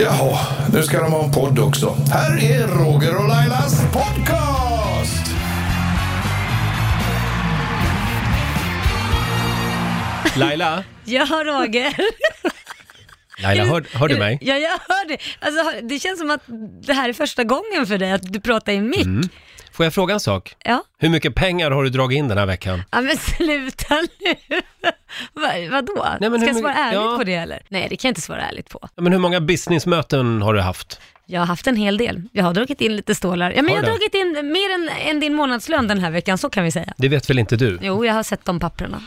Jaha, nu ska de ha en podd också. Här är Roger och Lailas podcast! Laila, Ja, Roger. Laila hör, hör du mig? Ja, jag hör det. Alltså, det känns som att det här är första gången för dig att du pratar i mick. Mm. eh, Får jag fråga en sak? Ja. Hur mycket pengar har du dragit in den här veckan? ja, men sluta nu. Va, vadå? Nej, men Ska hur jag svara mycket- ärligt ja. på det eller? Nej, det kan jag inte svara ärligt på. Ja, Men hur många businessmöten har du haft? Jag har haft en hel del. Jag har dragit in lite stålar. Ja, men Har jag du har det? dragit in mer än, än din månadslön den här veckan, så kan vi säga. Det vet väl inte du? Jo, jag har sett de papperna.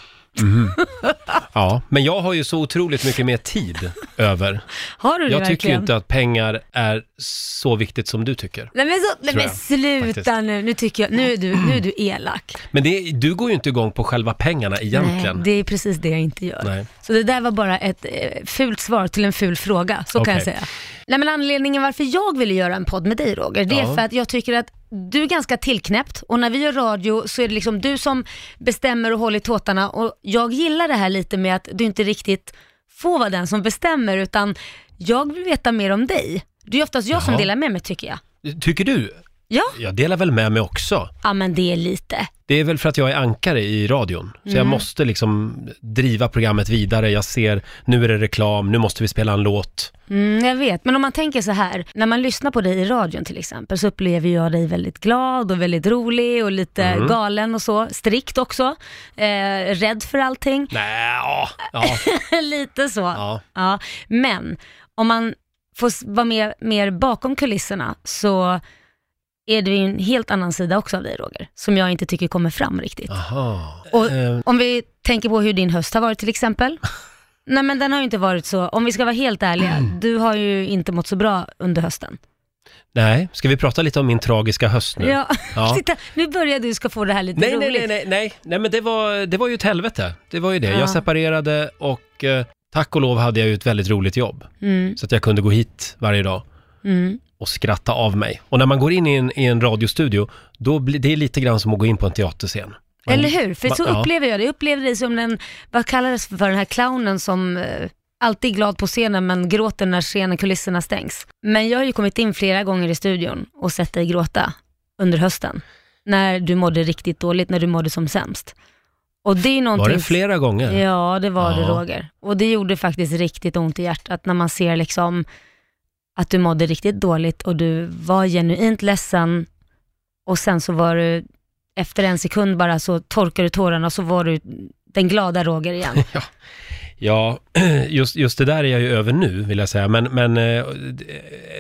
Ja, men jag har ju så otroligt mycket mer tid över. Har du det Jag tycker ju verkligen? inte att pengar är så viktigt som du tycker. Nej men, så, nej, Tror men jag, sluta faktiskt. nu, nu, tycker jag, nu, är du, nu är du elak. Men det, du går ju inte igång på själva pengarna egentligen. Nej, det är precis det jag inte gör. Nej. Så det där var bara ett eh, fult svar till en ful fråga, så Okej. kan jag säga. Nej men anledningen varför jag ville göra en podd med dig Roger, det är Ja. för att jag tycker att du är ganska tillknäppt och när vi gör radio så är det liksom du som bestämmer och håller i tåtarna och jag gillar det här lite med att du inte riktigt får vara den som bestämmer utan jag vill veta mer om dig. Det är oftast jag som Jaha. delar med mig tycker jag. Tycker du? Ja, Jag delar väl med mig också. ja men det är lite. Det är väl för att jag är ankare i radion. Så Mm. jag måste liksom driva programmet vidare. Jag ser, nu är det reklam, nu måste vi spela en låt. Mm, jag vet, men om man tänker så här, när man lyssnar på dig i radion till exempel så upplever jag dig väldigt glad och väldigt rolig och lite galen och så, strikt också, eh, rädd för allting, Nej, ja, ja, lite så. Ja. ja. Men om man får s- vara med mer bakom kulisserna så är det ju en helt annan sida också av dig Roger, som jag inte tycker kommer fram riktigt. Aha. Och Eh, om vi tänker på hur din höst har varit till exempel. Nej men den har ju inte varit så, om vi ska vara helt ärliga, Mm. du har ju inte mått så bra under hösten. nej, ska vi prata lite om min tragiska höst nu? Ja, Ja. titta nu börjar du ska få det här lite Nej, nej, roligt. nej, nej, nej, nej, men det var, det var ju ett helvete. Det var ju det. Ja. Jag separerade och eh, tack och lov hade jag ju ett väldigt roligt jobb. Mm, Så att jag kunde gå hit varje dag mm. och skratta av mig. Och när man går in i en, i en radiostudio, då blir det lite grann som att gå in på en teaterscen. Man- Eller hur? För Va- så ja. upplever jag det. Jag upplever dig som den, vad kallades för den här clownen som eh, alltid är glad på scenen men gråter när scenen, kulisserna stängs. Men jag har ju kommit in flera gånger i studion och sett dig gråta under hösten. När du mådde riktigt dåligt, när du mådde som sämst. Och det är ju Var någonting... det flera gånger? Ja, det var det Ja. Roger. Och det gjorde faktiskt riktigt ont i hjärtat när man ser liksom att du mådde riktigt dåligt och du var genuint ledsen och sen så var du, efter en sekund bara så torkade du tårarna och så var du den glada Roger igen. Ja, just, just det där är jag ju över nu vill jag säga. Men, men eh, det-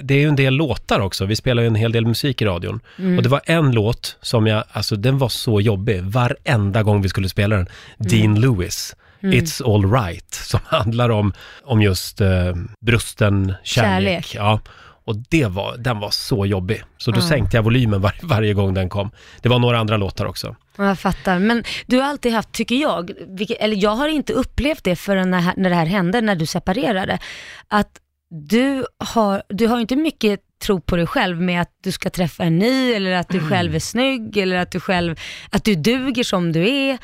det är ju en del låtar också. Vi spelar ju en hel del musik i radion. Mm. Och det var en låt som jag, alltså den var så jobbig varenda gång vi skulle spela den. Mm. Dean Lewis. It's all right, som handlar om, om just eh, brusten kärlek. Kärlek. Ja. Och det var, den var så jobbig. Så då Ja. sänkte jag volymen var, varje gång den kom. Det var några andra låtar också. Ja, Jag fattar, men du har alltid haft, tycker jag, vilket, eller jag har inte upplevt det förrän när, när det här hände, när du separerade, att du har, du har inte mycket tro på dig själv med att du ska träffa en ny, eller att Mm. du själv är snygg, eller att du själv, att du duger som du är.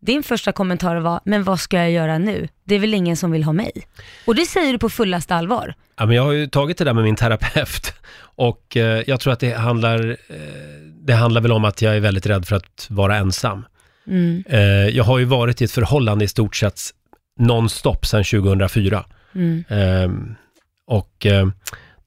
Din första kommentar var, men vad ska jag göra nu? Det är väl ingen som vill ha mig? Och det säger du på fullaste allvar. Ja, men jag har ju tagit det där med min terapeut och eh, jag tror att det handlar, eh, det handlar väl om att jag är väldigt rädd för att vara ensam. Mm, Eh, jag har ju varit i ett förhållande i stort sett nonstop sedan 2004. mm, Ehm, och eh,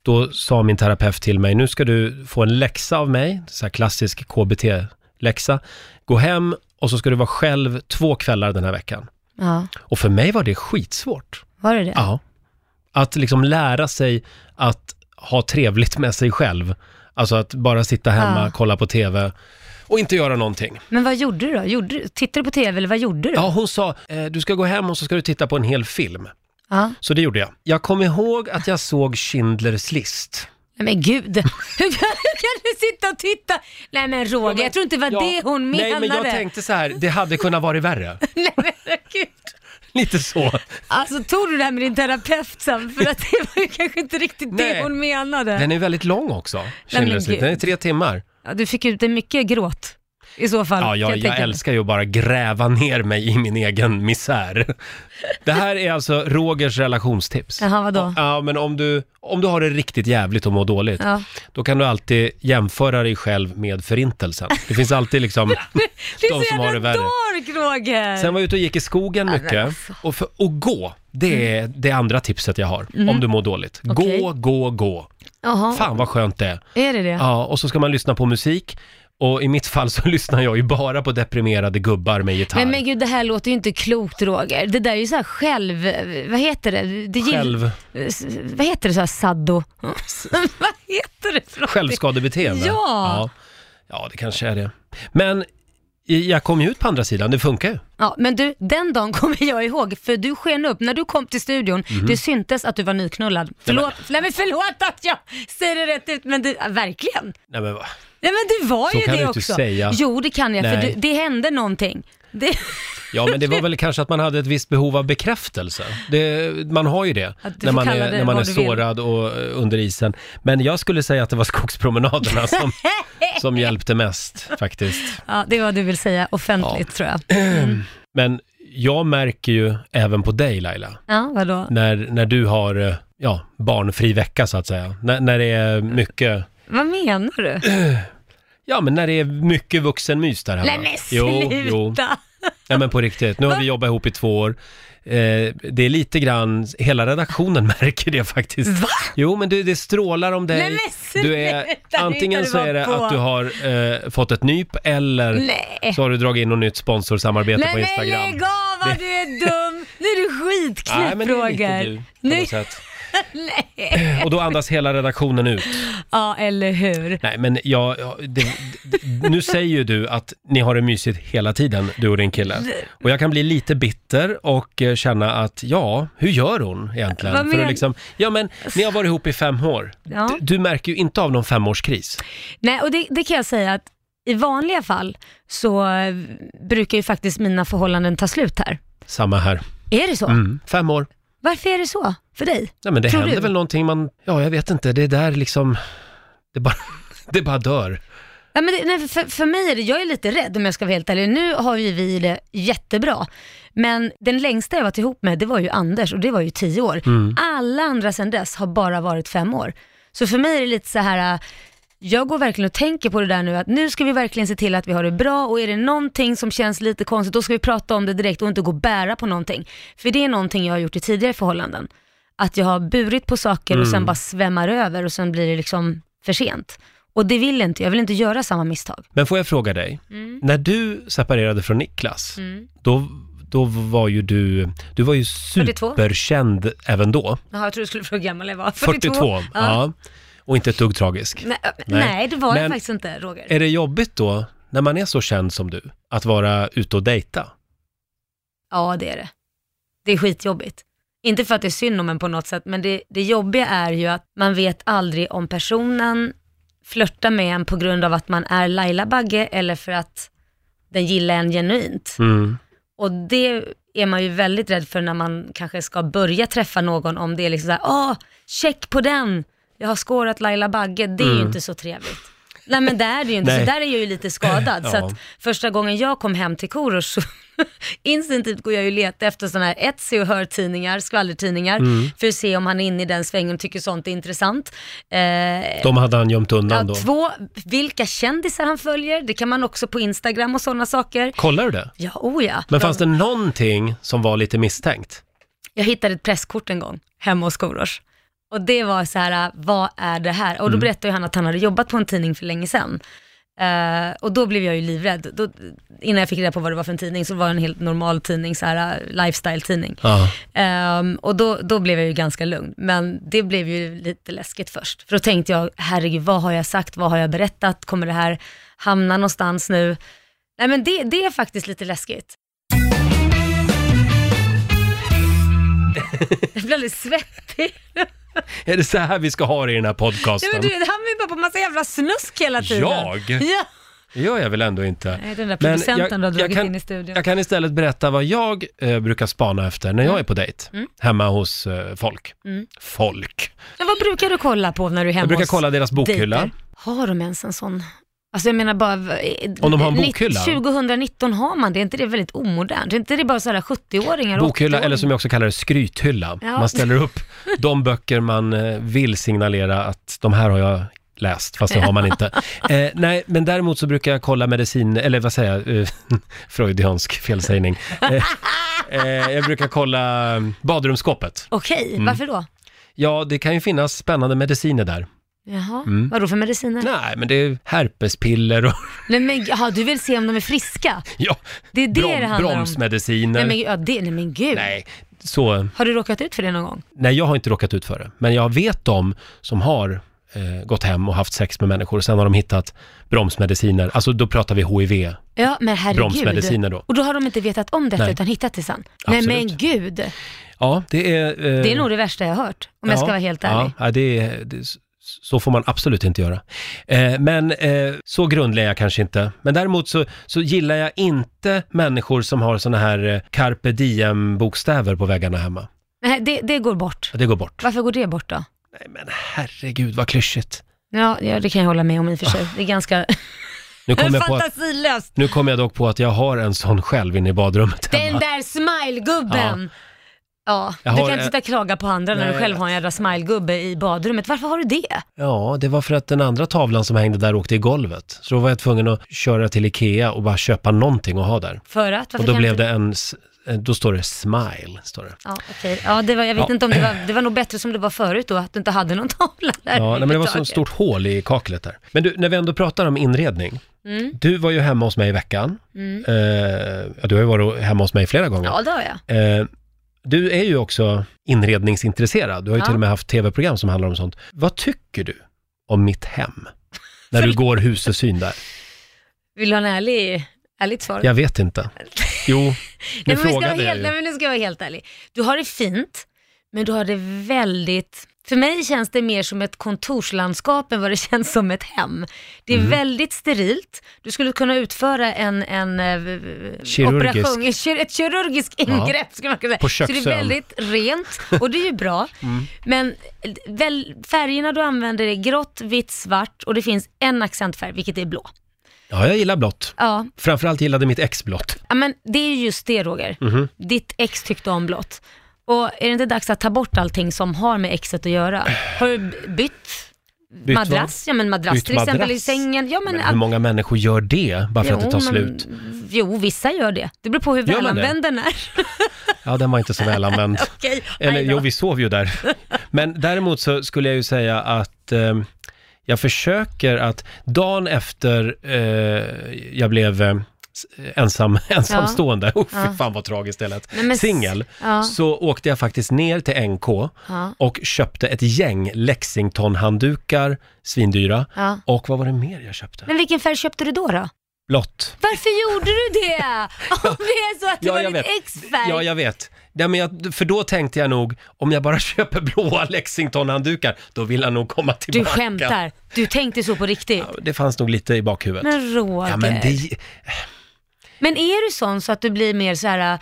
då sa min terapeut till mig, nu ska du få en läxa av mig, så här klassisk KBT-läxa. Gå hem och så ska du vara själv två kvällar den här veckan. ja, Och för mig var det skitsvårt. var det det? Ja. Att liksom lära sig att ha trevligt med sig själv. Alltså att bara sitta hemma, Ja. kolla på TV och inte göra någonting. Men vad gjorde du då? Gjorde, du- tittade du på TV eller vad gjorde du? Ja, hon sa, eh, du ska gå hem och så ska du titta på en hel film. ja. Så det gjorde jag. Jag kommer ihåg att jag såg Schindler's list. Nej men gud, hur kan, hur kan du sitta och titta? Nej men Roger, jag tror inte det var Ja. det hon menade. Nej, men jag tänkte så här, det hade kunnat vara värre. Nej, men gud. Lite så. Alltså tog du det här med din terapeut sen? För att det var ju kanske inte riktigt Nej. det hon menade. Den är väldigt lång också, men Schindler's list. gud. Den är tre timmar. Ja, du fick ut det mycket gråt. i så fall. Ja, kan jag, jag tänka mig. älskar ju att bara gräva ner mig i min egen misär. Det här är alltså Rogers relationstips. Jaha, vadå? Ja, men om du, om du har det riktigt jävligt och mår dåligt, Ja. då kan du alltid jämföra dig själv med förintelsen. Det finns alltid liksom... Det är De så som har jävla det värre. dark Roger! Sen var jag ute och gick i skogen men mycket. alltså. Och, för, och gå, det är det andra tipset jag har, om du mår dåligt. Gå, Mm. Okej. gå, gå. Jaha, Fan vad skönt det är. är det det? Ja, och så ska man lyssna på musik. Och i mitt fall så lyssnar jag ju bara på deprimerade gubbar med gitarr. Men, men gud, det här låter ju inte klokt Roger. Det där är ju så här själv... Vad heter det? det gill- Själv, S- Vad heter det så här saddo? vad heter det för någonting? självskadebeteende. Ja. ja! Ja, det kanske är det. Men i- jag kom ju ut på andra sidan, det funkar ju. Ja, men du, den dagen kommer jag ihåg, för du sken upp. När du kom till studion, Mhm. det syntes att du var nyknullad. Förlåt, nej men förlåt att jag säger det rätt ut, men du, ja, verkligen. Nej, men, va? Nej men det var Så ju kan det du inte också. säga. Jo, det kan jag, Nej. för du, det hände någonting. Det, ja, men det var väl kanske att man hade ett visst behov av bekräftelse. Det, man har ju det Att du när får man kalla är, det när man är vad du vill. sårad och eh, under isen. Men jag skulle säga att det var skogspromenaderna som, som hjälpte mest faktiskt. ja, det är vad du vill säga offentligt tror jag. Men jag märker ju även på dig Laila, Ja, vadå? när, när du har eh, ja, barnfri vecka så att säga. När, när det är mycket, Vad menar du? ja men när det är mycket vuxenmys där hemma. Nej men Jo, sluta! jo. Nej men på riktigt, nu har vi jobbat ihop i två år. Eh, det är lite grann, hela redaktionen märker det faktiskt. Va? Jo men du, det strålar om dig. Nej, men du är, sluta, det antingen hittar så du är det bara på. att du har eh, fått ett nyp eller Nej. så har du dragit in något nytt sponsorsamarbete Nej på men Instagram. lägg av vad du är dum! Nu är du Nej, men skitknäpp det är lite Roger. du på Nu- något sätt. Och då andas hela redaktionen ut. Ja, eller hur? Nej, men jag, jag, det, det, nu säger ju du att ni har det mysigt hela tiden, du och din kille. Och jag kan bli lite bitter och eh, känna att, ja, hur gör hon egentligen? Vad För att men- liksom, ja men, ni har varit ihop i fem år. Ja. D- Du märker ju inte av någon femårskris. Nej, och det, det kan jag säga att i vanliga fall så eh, brukar ju faktiskt mina förhållanden ta slut här. Samma här. Är det så? Mm. Fem år. Varför är det så för dig? Nej, men det Tror händer du? väl någonting man, ja jag vet inte, det är där liksom, det bara, det bara dör. Ja, men det, nej, för, för mig är det, jag är lite rädd om jag ska vara helt ärlig. Nu har ju vi det jättebra, men den längsta jag varit ihop med det var ju Anders och det var ju tio år. Alla andra sedan dess har bara varit fem år. Så för mig är det lite så här, äh, jag går verkligen och tänker på det där nu att nu ska vi verkligen se till att vi har det bra och är det någonting som känns lite konstigt då ska vi prata om det direkt och inte gå och bära på någonting. För det är någonting jag har gjort i tidigare förhållanden. Att jag har burit på saker och Mm. sen bara svämmar över och sen blir det liksom för sent. Och det vill inte jag, jag vill inte göra samma misstag. Men får jag fråga dig, Mm. när du separerade från Niklas, då, då var ju du, du var ju 42. superkänd även då. Jaha, jag trodde du skulle fråga hur gammal jag var. 42. Ja. Och inte ett dugg tragisk. Nej, äh, Nej. nej, det var jag Men- faktiskt inte Roger. Är det jobbigt då, när man är så känd som du, att vara ute och dejta? Ja, det är det. Det är skitjobbigt. Inte för att det är synd om en på något sätt, men det, det jobbiga är ju att man vet aldrig om personen flörtar med en på grund av att man är Laila Bagge eller för att den gillar en genuint. Mm. Och det är man ju väldigt rädd för när man kanske ska börja träffa någon om det är liksom såhär, ah, check på den, jag har skårat Laila Bagge, det är ju inte så trevligt. Nej men det är det ju inte, Mm. Nej. så där är jag ju lite skadad. Så Ja. att första gången jag kom hem till Korosh så instinktivt går jag ju och letar efter sådana här Etsy och hör-tidningar, skvallertidningar, Mm. för att se om han är inne i den svängen och tycker sånt är intressant. Eh, De hade han gömt ja, undan då. två, vilka kändisar han följer, det kan man också på Instagram och sådana saker. Kollar du det? Ja, oh ja. Men fanns det någonting som var lite misstänkt? Jag hittade ett presskort en gång hemma hos Korosh. Och det var så här, äh, vad är det här? Och då berättade ju han att han hade jobbat på en tidning för länge sedan. Eh, och då blev jag ju livrädd. Då, innan jag fick reda på vad det var för en tidning så var det en helt normal tidning, så här, äh, lifestyle-tidning. Ja. Ehm, och då, då blev jag ju ganska lugn, men det blev ju lite läskigt först. För då tänkte jag, herregud, vad har jag sagt, vad har jag berättat, kommer det här hamna någonstans nu? Nej men det, det är faktiskt lite läskigt. Jag blir alldeles svettig. Är det så här vi ska ha det i den här Nej, podcasten? men du vet, han är ju bara på massa jävla snusk hela tiden. Jag? Ja. Det gör jag väl ändå inte. Nej, den där Men producenten du har dragit kan, in i studion. Jag kan istället berätta vad jag eh, brukar spana efter Mm. när jag är på dejt, hemma hos eh, folk. Folk. Men vad brukar du kolla på när du är hemma Jag brukar hos kolla deras bokhylla. dejter? Har de ens en sån Alltså jag menar bara... Om de har en nitt- bokhylla? 2019 har man det, är inte det väldigt omodernt? Är inte det bara sådana 70-åringar och Bokhylla, 80-åringar? eller som jag också kallar det, skrythylla. Ja. Man ställer upp de böcker man eh, vill signalera att de här har jag läst, fast det har man inte. Eh, nej, men däremot så brukar jag kolla medicin, eller vad säger jag, Eh, freudiansk felsägning. Eh, eh, jag brukar kolla eh, badrumsskåpet. Okej, Mm. varför då? Ja, det kan ju finnas spännande mediciner där. Jaha, vadå för mediciner? Mm. Nej, men det är herpespiller och Nej men jaha, du vill se om de är friska? ja, Det är det det handlar om. bromsmediciner. Nej men, ja, det, nej men gud. nej, så Har du råkat ut för det någon gång? Nej, jag har inte råkat ut för det. Men jag vet de som har eh, gått hem och haft sex med människor. Sen har de hittat bromsmediciner. Alltså då pratar vi HIV. Ja men herregud. Bromsmediciner då. Och då har de inte vetat om detta Nej. utan hittat det sen? Nej Absolut. men gud, Ja, det är... eh, det är nog det värsta jag har hört. Om jag ska vara helt ärlig. Ja, ja, det är, det, så får man absolut inte göra. Eh, men eh, så grundlig är jag kanske inte. Men däremot så, så gillar jag inte människor som har såna här eh, carpe diem-bokstäver på väggarna hemma. Nej, det, det går bort. Det går bort. Varför går det bort då? Nej, men herregud vad klyschigt. Ja, ja, det kan jag hålla med om i och för sig. Det är ganska Nu kom jag på att fantasilöst. Nu kom jag dock på att jag har en sån själv inne i badrummet Den hemma. där smilegubben. Ja, Jag du har kan inte en- sitta och klaga på andra när Nej, du jag själv vet. har en jävla smilegubbe i badrummet. Varför har du det? Ja, det var för att den andra tavlan som hängde där åkte i golvet. Så då var jag tvungen att köra till Ikea och bara köpa någonting och ha där. För att? Varför Och då kan blev inte... det en, s- eh, då står det smile, står det. Ja, okej. ja, det var, jag vet Ja. inte om det var, det var nog bättre som det var förut då, att du inte hade någon tavla där. Ja, nej, men det var så överhuvudtaget. stort hål i kaklet där. Men du, när vi ändå pratar om inredning. Mm. Du var ju hemma hos mig i veckan. Eh, ja, du har ju varit hemma hos mig flera gånger. Ja, det har jag. Eh, du är ju också inredningsintresserad. Du har ju Ja. till och med haft tv-program som handlar om sånt. Vad tycker du om mitt hem? När du går husesyn där? Vill du ha en ärlig, ärligt svar? Jag vet inte. Jo, nu Nej, men vi ska vara frågade jag helt, nej, ju. men nu ska jag vara helt ärlig. Du har det fint, men du har det väldigt... För mig känns det mer som ett kontorslandskap än vad det känns som ett hem. Det är Mm. väldigt sterilt. Du skulle kunna utföra en, en eh, Kirurgisk. operation, ett kir- ett kirurgiskt ingrepp skulle man kunna säga. På Mm. Så det köksön. är väldigt rent och det är ju bra. Men väl, färgerna du använder är grått, vitt, svart och det finns en accentfärg, vilket är blå. Ja, jag gillar blått. Ja, Framförallt gillade mitt ex blått. Ja, men det är ju just det Roger. Mhm. Ditt ex tyckte om blått. Och är det inte dags att ta bort allting som har med exet att göra? Har du b- bytt Bytt vad? madrass? Ja men madrass Bytt till exempel i madrass? sängen. Ja, men, Men all- hur många människor gör det bara för att det Jo, tar men- slut? Jo, vissa gör det. Det beror på hur Gör man välanvänd den är. Ja, den var inte så väl använd. Okej, Eller aj då. jo, vi sov ju där. Men däremot så skulle jag ju säga att eh, jag försöker att dagen efter eh, jag blev eh, s- ensam, ensamstående, oh, fy fan vad tragiskt det lät, Nej, men s- singel, ja. så åkte jag faktiskt ner till NK Ja. och köpte ett gäng Lexington-handdukar, svindyra, Ja. och vad var det mer jag köpte? Men vilken färg köpte du då? då? Blått. Varför gjorde du det? Om det är så att det var ditt ex färg. Ja, jag vet. Nej, men jag, för då tänkte jag nog, om jag bara köper blåa Lexington-handdukar, då vill han nog komma Du tillbaka. skämtar. Du tänkte så på riktigt. Ja, Det fanns nog lite i bakhuvudet. Men Roger. ja, men det, Men är du sån så att du blir mer så här äh,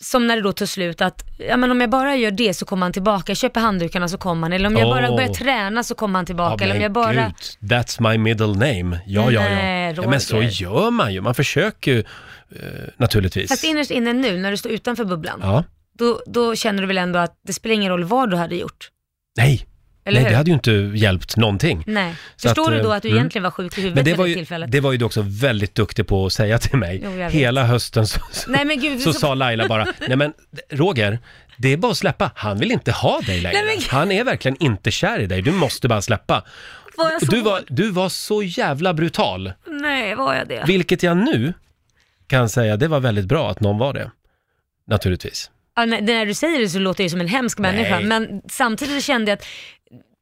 som när det då tar slut att, ja men om jag bara gör det så kommer han tillbaka, jag köper handdukarna så kommer han, eller om jag bara Åh. börjar träna så kommer han ja, tillbaka, eller men om jag bara... gud, that's my middle name. Ja, ja, ja. Nej, ja. Men Roger. så gör man ju, man försöker ju eh, naturligtvis. Fast innerst inne nu, när du står utanför bubblan, Ja. då, då känner du väl ändå att det spelar ingen roll vad du hade gjort? Nej, Eller Nej det hur? hade ju inte hjälpt någonting. Nej. Så Förstår att, du då eh, att du mm. egentligen var sjuk i huvudet Men det vid var, det ju, tillfället? det var ju du också väldigt duktig på att säga till mig. Jo, jag vet. Hela hösten så, så, Nej men gud, så sa Laila bara, nej men Roger, det är bara att släppa. Han vill inte ha dig längre. Nej, men gud. Han är verkligen inte kär i dig. Du måste bara släppa. var jag så... Du var, du var så jävla brutal. Nej, var jag det? Vilket jag nu kan säga, det var väldigt bra att någon var det. Naturligtvis. Ja, när, när du säger det så låter jag ju som en hemsk människa, men samtidigt kände jag att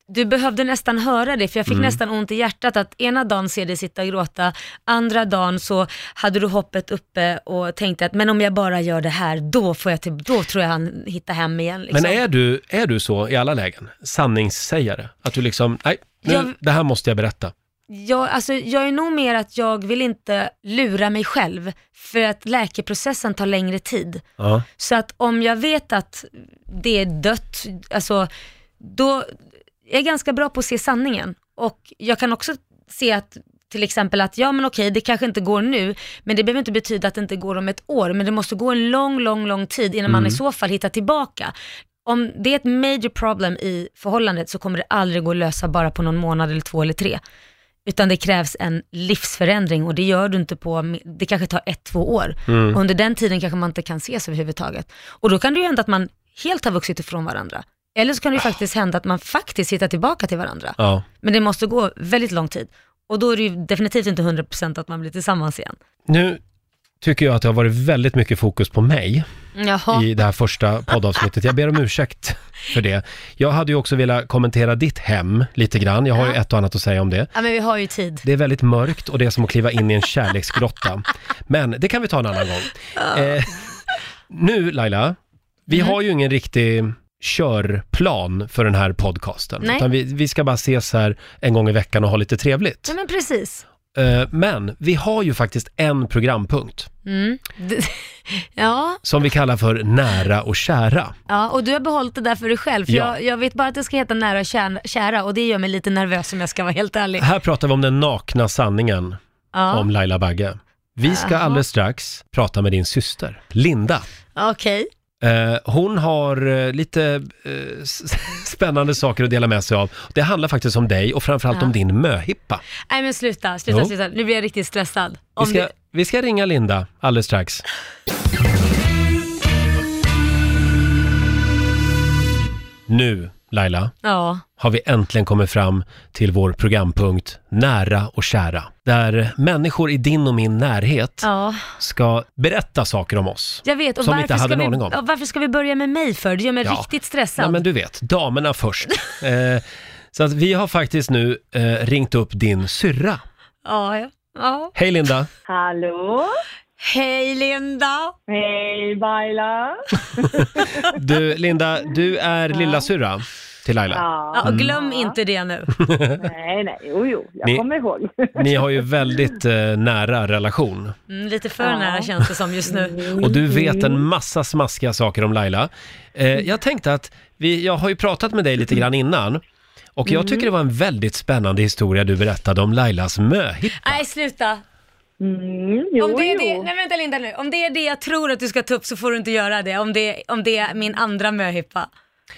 du behövde nästan höra det, för jag fick Mm. nästan ont i hjärtat att ena dagen ser dig sitta och gråta, andra dagen så hade du hoppet uppe och tänkte att men om jag bara gör det här, då, får jag till, då tror jag han hittar hem igen. Liksom. Men är du, är du så i alla lägen? Sanningssägare? Att du liksom, nej, nu, Jag- det här måste jag berätta. jag, alltså, jag är nog mer att jag vill inte lura mig själv, för att läkeprocessen tar längre tid. Ja. Så att om jag vet att det är dött, alltså, då är jag ganska bra på att se sanningen. Och jag kan också se att till exempel att, ja men okej, det kanske inte går nu, men det behöver inte betyda att det inte går om ett år, men det måste gå en lång, lång, lång tid innan man i så fall hittar tillbaka. Om det är ett major problem i förhållandet så kommer det aldrig gå att lösa bara på någon månad eller två eller tre. Utan det krävs en livsförändring och det gör du inte på, det kanske tar ett, två år. Mm. Och under den tiden kanske man inte kan ses överhuvudtaget. Och då kan det ju hända att man helt har vuxit ifrån varandra. Eller så kan det ju faktiskt hända att man faktiskt hittar tillbaka till varandra. Ja. Men det måste gå väldigt lång tid. Och då är det ju definitivt inte 100% att man blir tillsammans igen. Nu tycker jag att det har varit väldigt mycket fokus på mig Jaha. i det här första poddavsnittet. Jag ber om ursäkt för det. Jag hade ju också velat kommentera ditt hem lite grann. Jag har ju Ja. ett och annat att säga om det. Ja men vi har ju tid. Det är väldigt mörkt och det är som att kliva in i en kärleksgrotta. Men det kan vi ta en annan gång. Eh, nu Laila, vi Mm-hmm. har ju ingen riktig körplan för den här podcasten. Nej. Utan vi, vi ska bara ses här en gång i veckan och ha lite trevligt. Ja men precis. Eh, men vi har ju faktiskt en programpunkt Mm. Det- Ja, som vi kallar för nära och kära. ja, och du har behållit det där för dig själv. För Ja. jag, jag vet bara att det ska heta nära och kär- kära och det gör mig lite nervös om jag ska vara helt ärlig. Här pratar vi om den nakna sanningen Ja. om Laila Bagge. Vi ska Jaha. alldeles strax prata med din syster, Linda. Okej. Eh, Hon har eh, lite eh, s- spännande saker att dela med sig av. Det handlar faktiskt om dig och framförallt Ja. om din möhippa. Nej men sluta, sluta, Jo. sluta. Nu blir jag riktigt stressad. Vi Om ska, du... vi ska ringa Linda alldeles strax. Nu, Laila, Ja. har vi äntligen kommit fram till vår programpunkt Nära och kära. Där människor i din och min närhet ja, ska berätta saker om oss. jag vet. Och Som vi varför, inte hade ska en vi, aning om. Ja, varför ska vi börja med mig för? Det gör mig Ja. riktigt Nej, stressad. men du vet, damerna först. eh, så att vi har faktiskt nu eh, ringt upp din syrra. ja, ja. ja. Hej Linda! Hallå! Hej Linda! Hej Baila! Du, Linda, du är lilla syrra till Laila. Ja, Ja, Mm. och glöm inte det nu. nej, nej, jo, jo, jag Ni- kommer ihåg. Ni har ju väldigt eh, nära relation. Mm, lite för Ja. nära känns det som just nu. Och du vet en massa smaskiga saker om Laila. Eh, jag tänkte att, vi, jag har ju pratat med dig lite grann innan. Och jag tycker det var en väldigt spännande historia du berättade om Lailas möhippa. Nej, sluta. Mm, jo, Om det är det, jo. nej vänta Linda nu. Om det är det jag tror att du ska ta upp så får du inte göra det. Om det, om det är min andra möhippa.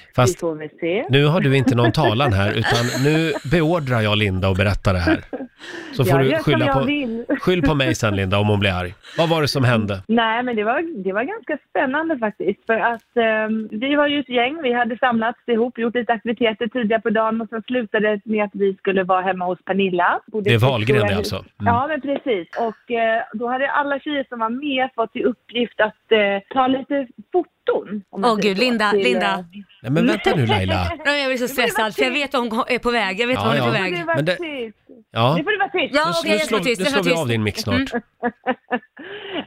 Vi Fast får väl se. nu har du inte någon talan här, utan nu beordrar jag Linda att berätta det här. Så får Jag du gör som skylla jag på, vill. skyll på mig sen Linda om hon blir arg. Vad var det som hände? Nej, men det var, det var ganska spännande faktiskt. För att ehm, vi var ju ett gäng, vi hade samlats ihop, gjort lite aktiviteter tidigare på dagen och sen slutade det med att vi skulle vara hemma hos Pernilla. Bodde Det är i sex Wahlgren år. det alltså? Mm. Ja, men precis. Och eh, då hade alla tjejer som var med fått i uppgift att eh, ta lite foton. om man Åh, säger gud, så, Linda, till, eh, Linda. Nej men vänta nu Laila. Nej, Jag blir så stressad för jag vet att hon är på väg. Jag vet Ja, att hon ja. är på Nu får du väg. vara Men det- tyst. Ja. Nu får du vara tyst. Ja, Nu, okej, nu, jag slår, slår nu tyst. Jag slår slår vi tyst. Mm. av din mick snart.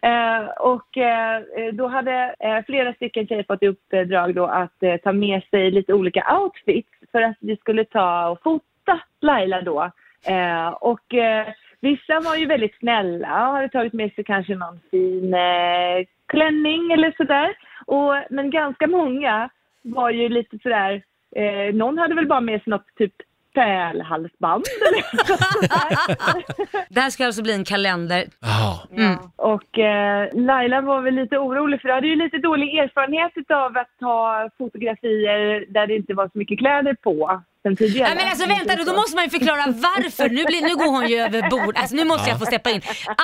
Eh, och eh, då hade eh, flera stycken tjejer fått i uppdrag då att eh, ta med sig lite olika outfits för att vi skulle ta och fota Laila då. Eh, och eh, vissa var ju väldigt snälla och hade tagit med sig kanske någon fin eh, klänning eller sådär. Och, men ganska många var ju lite sådär, eh, någon hade väl bara med sig något typ pärlhalsband eller något sådär. Det här ska alltså bli en kalender. Ja. Mm. Och eh, Laila var väl lite orolig för jag hade ju lite dålig erfarenhet av att ta fotografier där det inte var så mycket kläder på sen tidigare. Nej men alltså vänta då, då måste man ju förklara varför. Nu, blir, nu går hon ju över bord. Alltså nu måste jag få steppa in.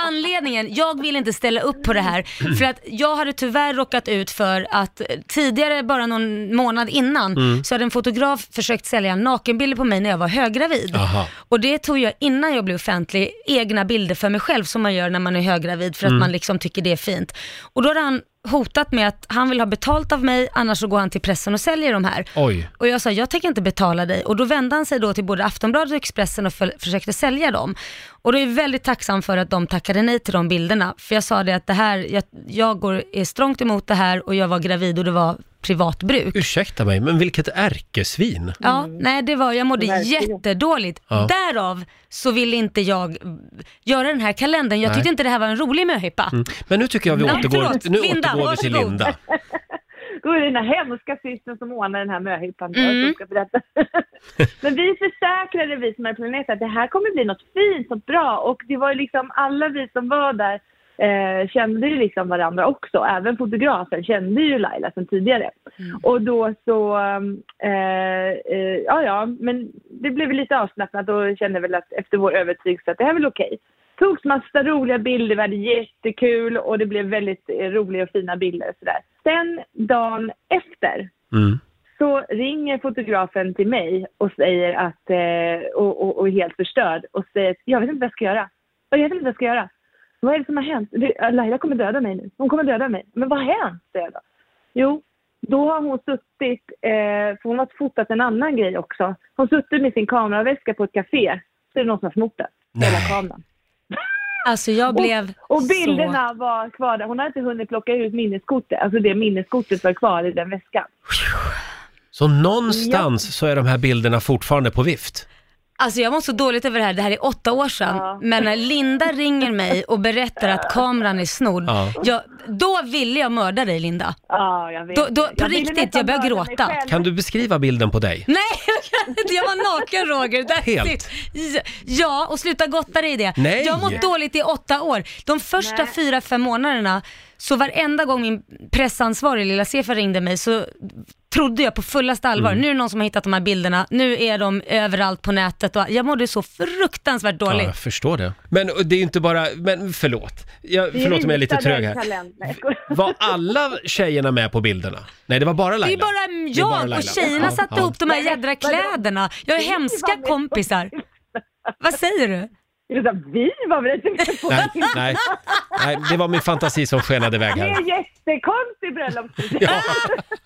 Anledningen, jag vill inte ställa upp på det här. För att jag hade tyvärr råkat ut för att eh, tidigare, bara någon månad innan, Mm. så hade en fotograf försökt sälja nakenbilder på mig när jag var höggravid. Aha. Och det tog jag innan jag blev offentlig, egna bilder för mig själv som man gör när man är höggravid Mm. för att man liksom tycker det är fint. Och då hade han hotat med att han vill ha betalt av mig, annars så går han till pressen och säljer de här. Oj. Och jag sa, jag tänker inte betala dig. Och då vände han sig då till både Aftonbladet och Expressen och föl- försökte sälja dem. Och då är jag väldigt tacksam för att de tackade nej till de bilderna. För jag sa det att det här, jag, jag går, är strångt emot det här och jag var gravid och det var privat bruk. Ursäkta mig, men vilket ärkesvin. Ja, nej det var, jag mådde Mm. Verkligen. jättedåligt. Ja. Därav så ville inte jag göra den här kalendern. Jag Nej. Mm. tyckte inte det här var en rolig möhippa. Men nu tycker jag vi Nej, återgår, förlåt. nu Linda, återgår vi till varsågod. Linda. Då är det den här hemska systern som ordnar den här möhippan Mm. som ska berätta. Men vi försäkrade, vi som är planeten, att det här kommer bli något fint och bra. Och det var ju liksom alla vi som var där eh, kände ju liksom varandra också. Även fotografen kände ju Laila sedan tidigare. Och då så, eh, eh, ja ja, men det blev lite avslappnat och kände väl att efter vår övertygelse att det här är väl okej togs massa roliga bilder, vi hade jättekul och det blev väldigt eh, roliga och fina bilder och sådär. Sen dagen efter Mm. så ringer fotografen till mig och säger att, eh, och, och, och är helt förstörd och säger att jag vet inte vad jag ska göra. Jag vet inte vad jag ska göra. Vad är det som har hänt? Det- eh, Laila kommer döda mig nu. Hon kommer döda mig. Men vad har hänt? säger jag då. Jo, då har hon suttit, eh, för hon har fotat en annan grej också. Hon suttit med sin kameraväska på ett café. Så är det någon som har snott den. Nej. Hela kameran. Alltså jag blev Och bilderna var kvar där. Hon hade inte hunnit plocka ut minneskortet. Alltså det minneskortet var kvar i den väskan. Så någonstans så är de här bilderna fortfarande på vift. så, alltså jag mår så dåligt över det här, det här är åtta år sedan. Ja. Men när Linda ringer mig och berättar att kameran är snodd, Ja. jag, då ville jag mörda dig Linda. Ja, jag vet. Då- då- på jag ville riktigt, nästan jag börjar mörda mig gråta. själv. Kan du beskriva bilden på dig? Nej, jag kan inte. Jag var naken Roger. That's Helt. it. Ja, Ja, och sluta gotta dig i det. Nej. Jag har mått dåligt i åtta år. De första Nej. fyra, fem månaderna, så varenda gång min pressansvarig lilla Sefa ringde mig så trodde jag på fullaste allvar, Mm. nu är det någon som har hittat de här bilderna, nu är de överallt på nätet och jag mådde så fruktansvärt Ja, dåligt. jag förstår det. Men och det är ju inte bara, men förlåt. Jag, Vi förlåt om jag är lite ritade trög en här. kalender. Nej, jag skojar. Var alla tjejerna med på bilderna? Nej, det var bara Laila. Det är bara Det är bara jag och Laila. tjejerna Ja, satte ja. ihop de här Nej, men jädra vadå? kläderna. Jag Vi är var hemska med på- kompisar. Vad säger du? Det är så här, Vi var väl inte med på Nej, det? nej, nej, det var min fantasi som skenade iväg Det är här. en jättekonstig bröllopspresent.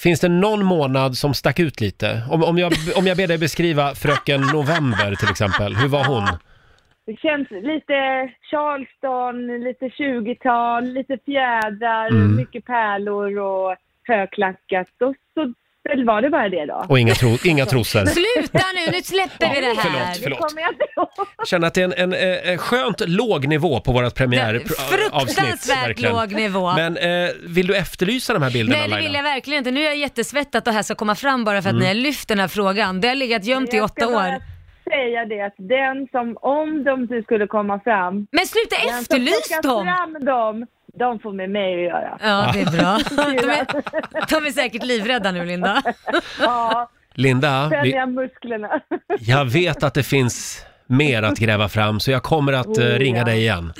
Finns det någon månad som stack ut lite? Om, om, jag, om jag ber dig beskriva fröken November till exempel, hur var hon? Det känns lite Charleston, lite 20-tal, lite fjädrar, Mm. mycket pärlor och högklackat. Och så väl var det bara det då. Och inga, tro, inga trosor. Sluta nu, nu släpper vi det här. förlåt. Det kommer jag inte ihåg. Känner att det är en, en, eh, eh, skönt låg nivå på vårt premiäravsnitt. Fruktansvärt verkligen. låg nivå. Men eh, vill du efterlysa de här bilderna Nej det vill Laila? jag verkligen inte. Nu är jag jättesvettat att det här ska komma fram bara för att Mm. ni har lyft den här frågan. Det har legat gömt i Jag åtta ska bara år. säga det att den som, om de inte skulle komma fram, Men sluta den efterlys som plockar dem! fram dem, de får med mig att göra. Ja det är bra. De är, de är säkert livrädda nu Linda. Ja, Linda, spänner vi, jag musklerna. jag vet att det finns mer att gräva fram så jag kommer att eh, Oh, ringa ja. dig igen.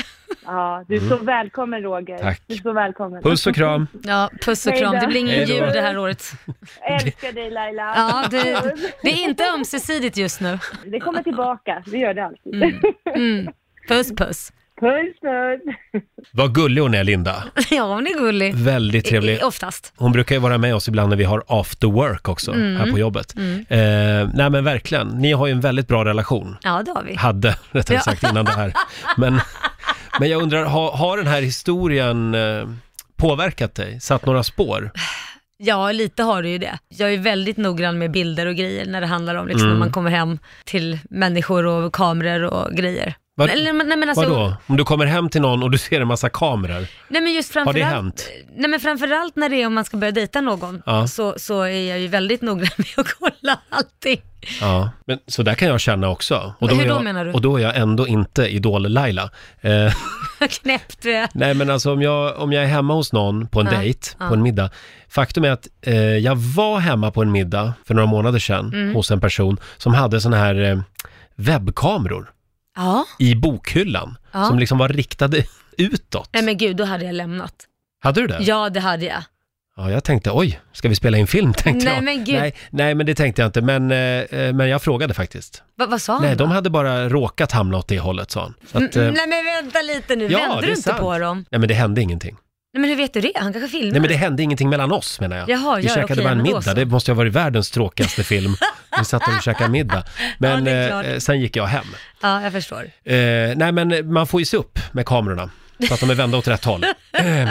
Ja, du är så välkommen Roger. Mm. Tack. Du är så välkommen. Puss och kram. Ja puss och Hej kram, då. det blir ingen Hej då. jul det här året. Älskar dig Laila. Ja, det, det är inte ömsesidigt just nu. Det kommer tillbaka, det gör det alltid. Mm. Puss puss. Puss puss. Vad gullig hon är Linda. Ja hon är Mm, gullig. Väldigt trevlig. I- Oftast. Hon brukar ju vara med oss ibland när vi har after work också här på jobbet. Eh, nej men verkligen, ni har ju en väldigt bra relation. Ja det har vi. Hade, rättare Ja. sagt, innan det här. Men, men jag undrar, har, har den här historien eh, påverkat dig? Satt några spår? Ja, lite har du ju det. Jag är väldigt noggrann med bilder och grejer när det handlar om liksom, när Mm. man kommer hem till människor och kameror och grejer. Vad- Eller, men- nej, men alltså, Vadå? Om du kommer hem till någon och du ser en massa kameror? Nej, men just Har det framförallt, hänt? Nej, men framförallt när det är om man ska börja dejta någon Ja. så, så är jag ju väldigt noggrann med att kolla allting. Ja, men så där kan jag känna också. Och Hur är då, jag, menar du? Och då är jag ändå inte Idol-Laila. Eh, Knäppt du är. nej, men alltså om jag, om jag är hemma hos någon på en Ja, dejt, ja. på en middag. Faktum är att eh, jag var hemma på en middag för några månader sedan Mm. hos en person som hade såna här eh, webbkameror Ja, i bokhyllan Ja. som liksom var riktade utåt. nej men gud då hade jag lämnat. Hade du det? Ja det hade jag. Ja, jag tänkte oj, ska vi spela in film? Tänkte Nej, jag. men gud. Nej, nej, men det tänkte jag inte. Men, eh, eh, men jag frågade faktiskt. Va, vad sa han Nej, då? de hade bara råkat hamna åt det hållet, sa han. Så att, eh, Ah. Mm, Nej men vänta lite nu, ja, det vände är du inte sant. på dem? nej, men det hände ingenting. Nej men hur vet du det? Han kanske filmar? Nej, men det hände ingenting mellan oss, menar jag. Jaha, vi ja, käkade okej, bara en men då middag. så. Det måste ju ha varit världens tråkigaste film. Vi satt och käkade middag. Men Ja, det är eh, klart. eh, sen gick jag hem. Ja, jag förstår. Eh, nej, men man får ju se upp med kamerorna så att de är vända åt rätt håll. Eh,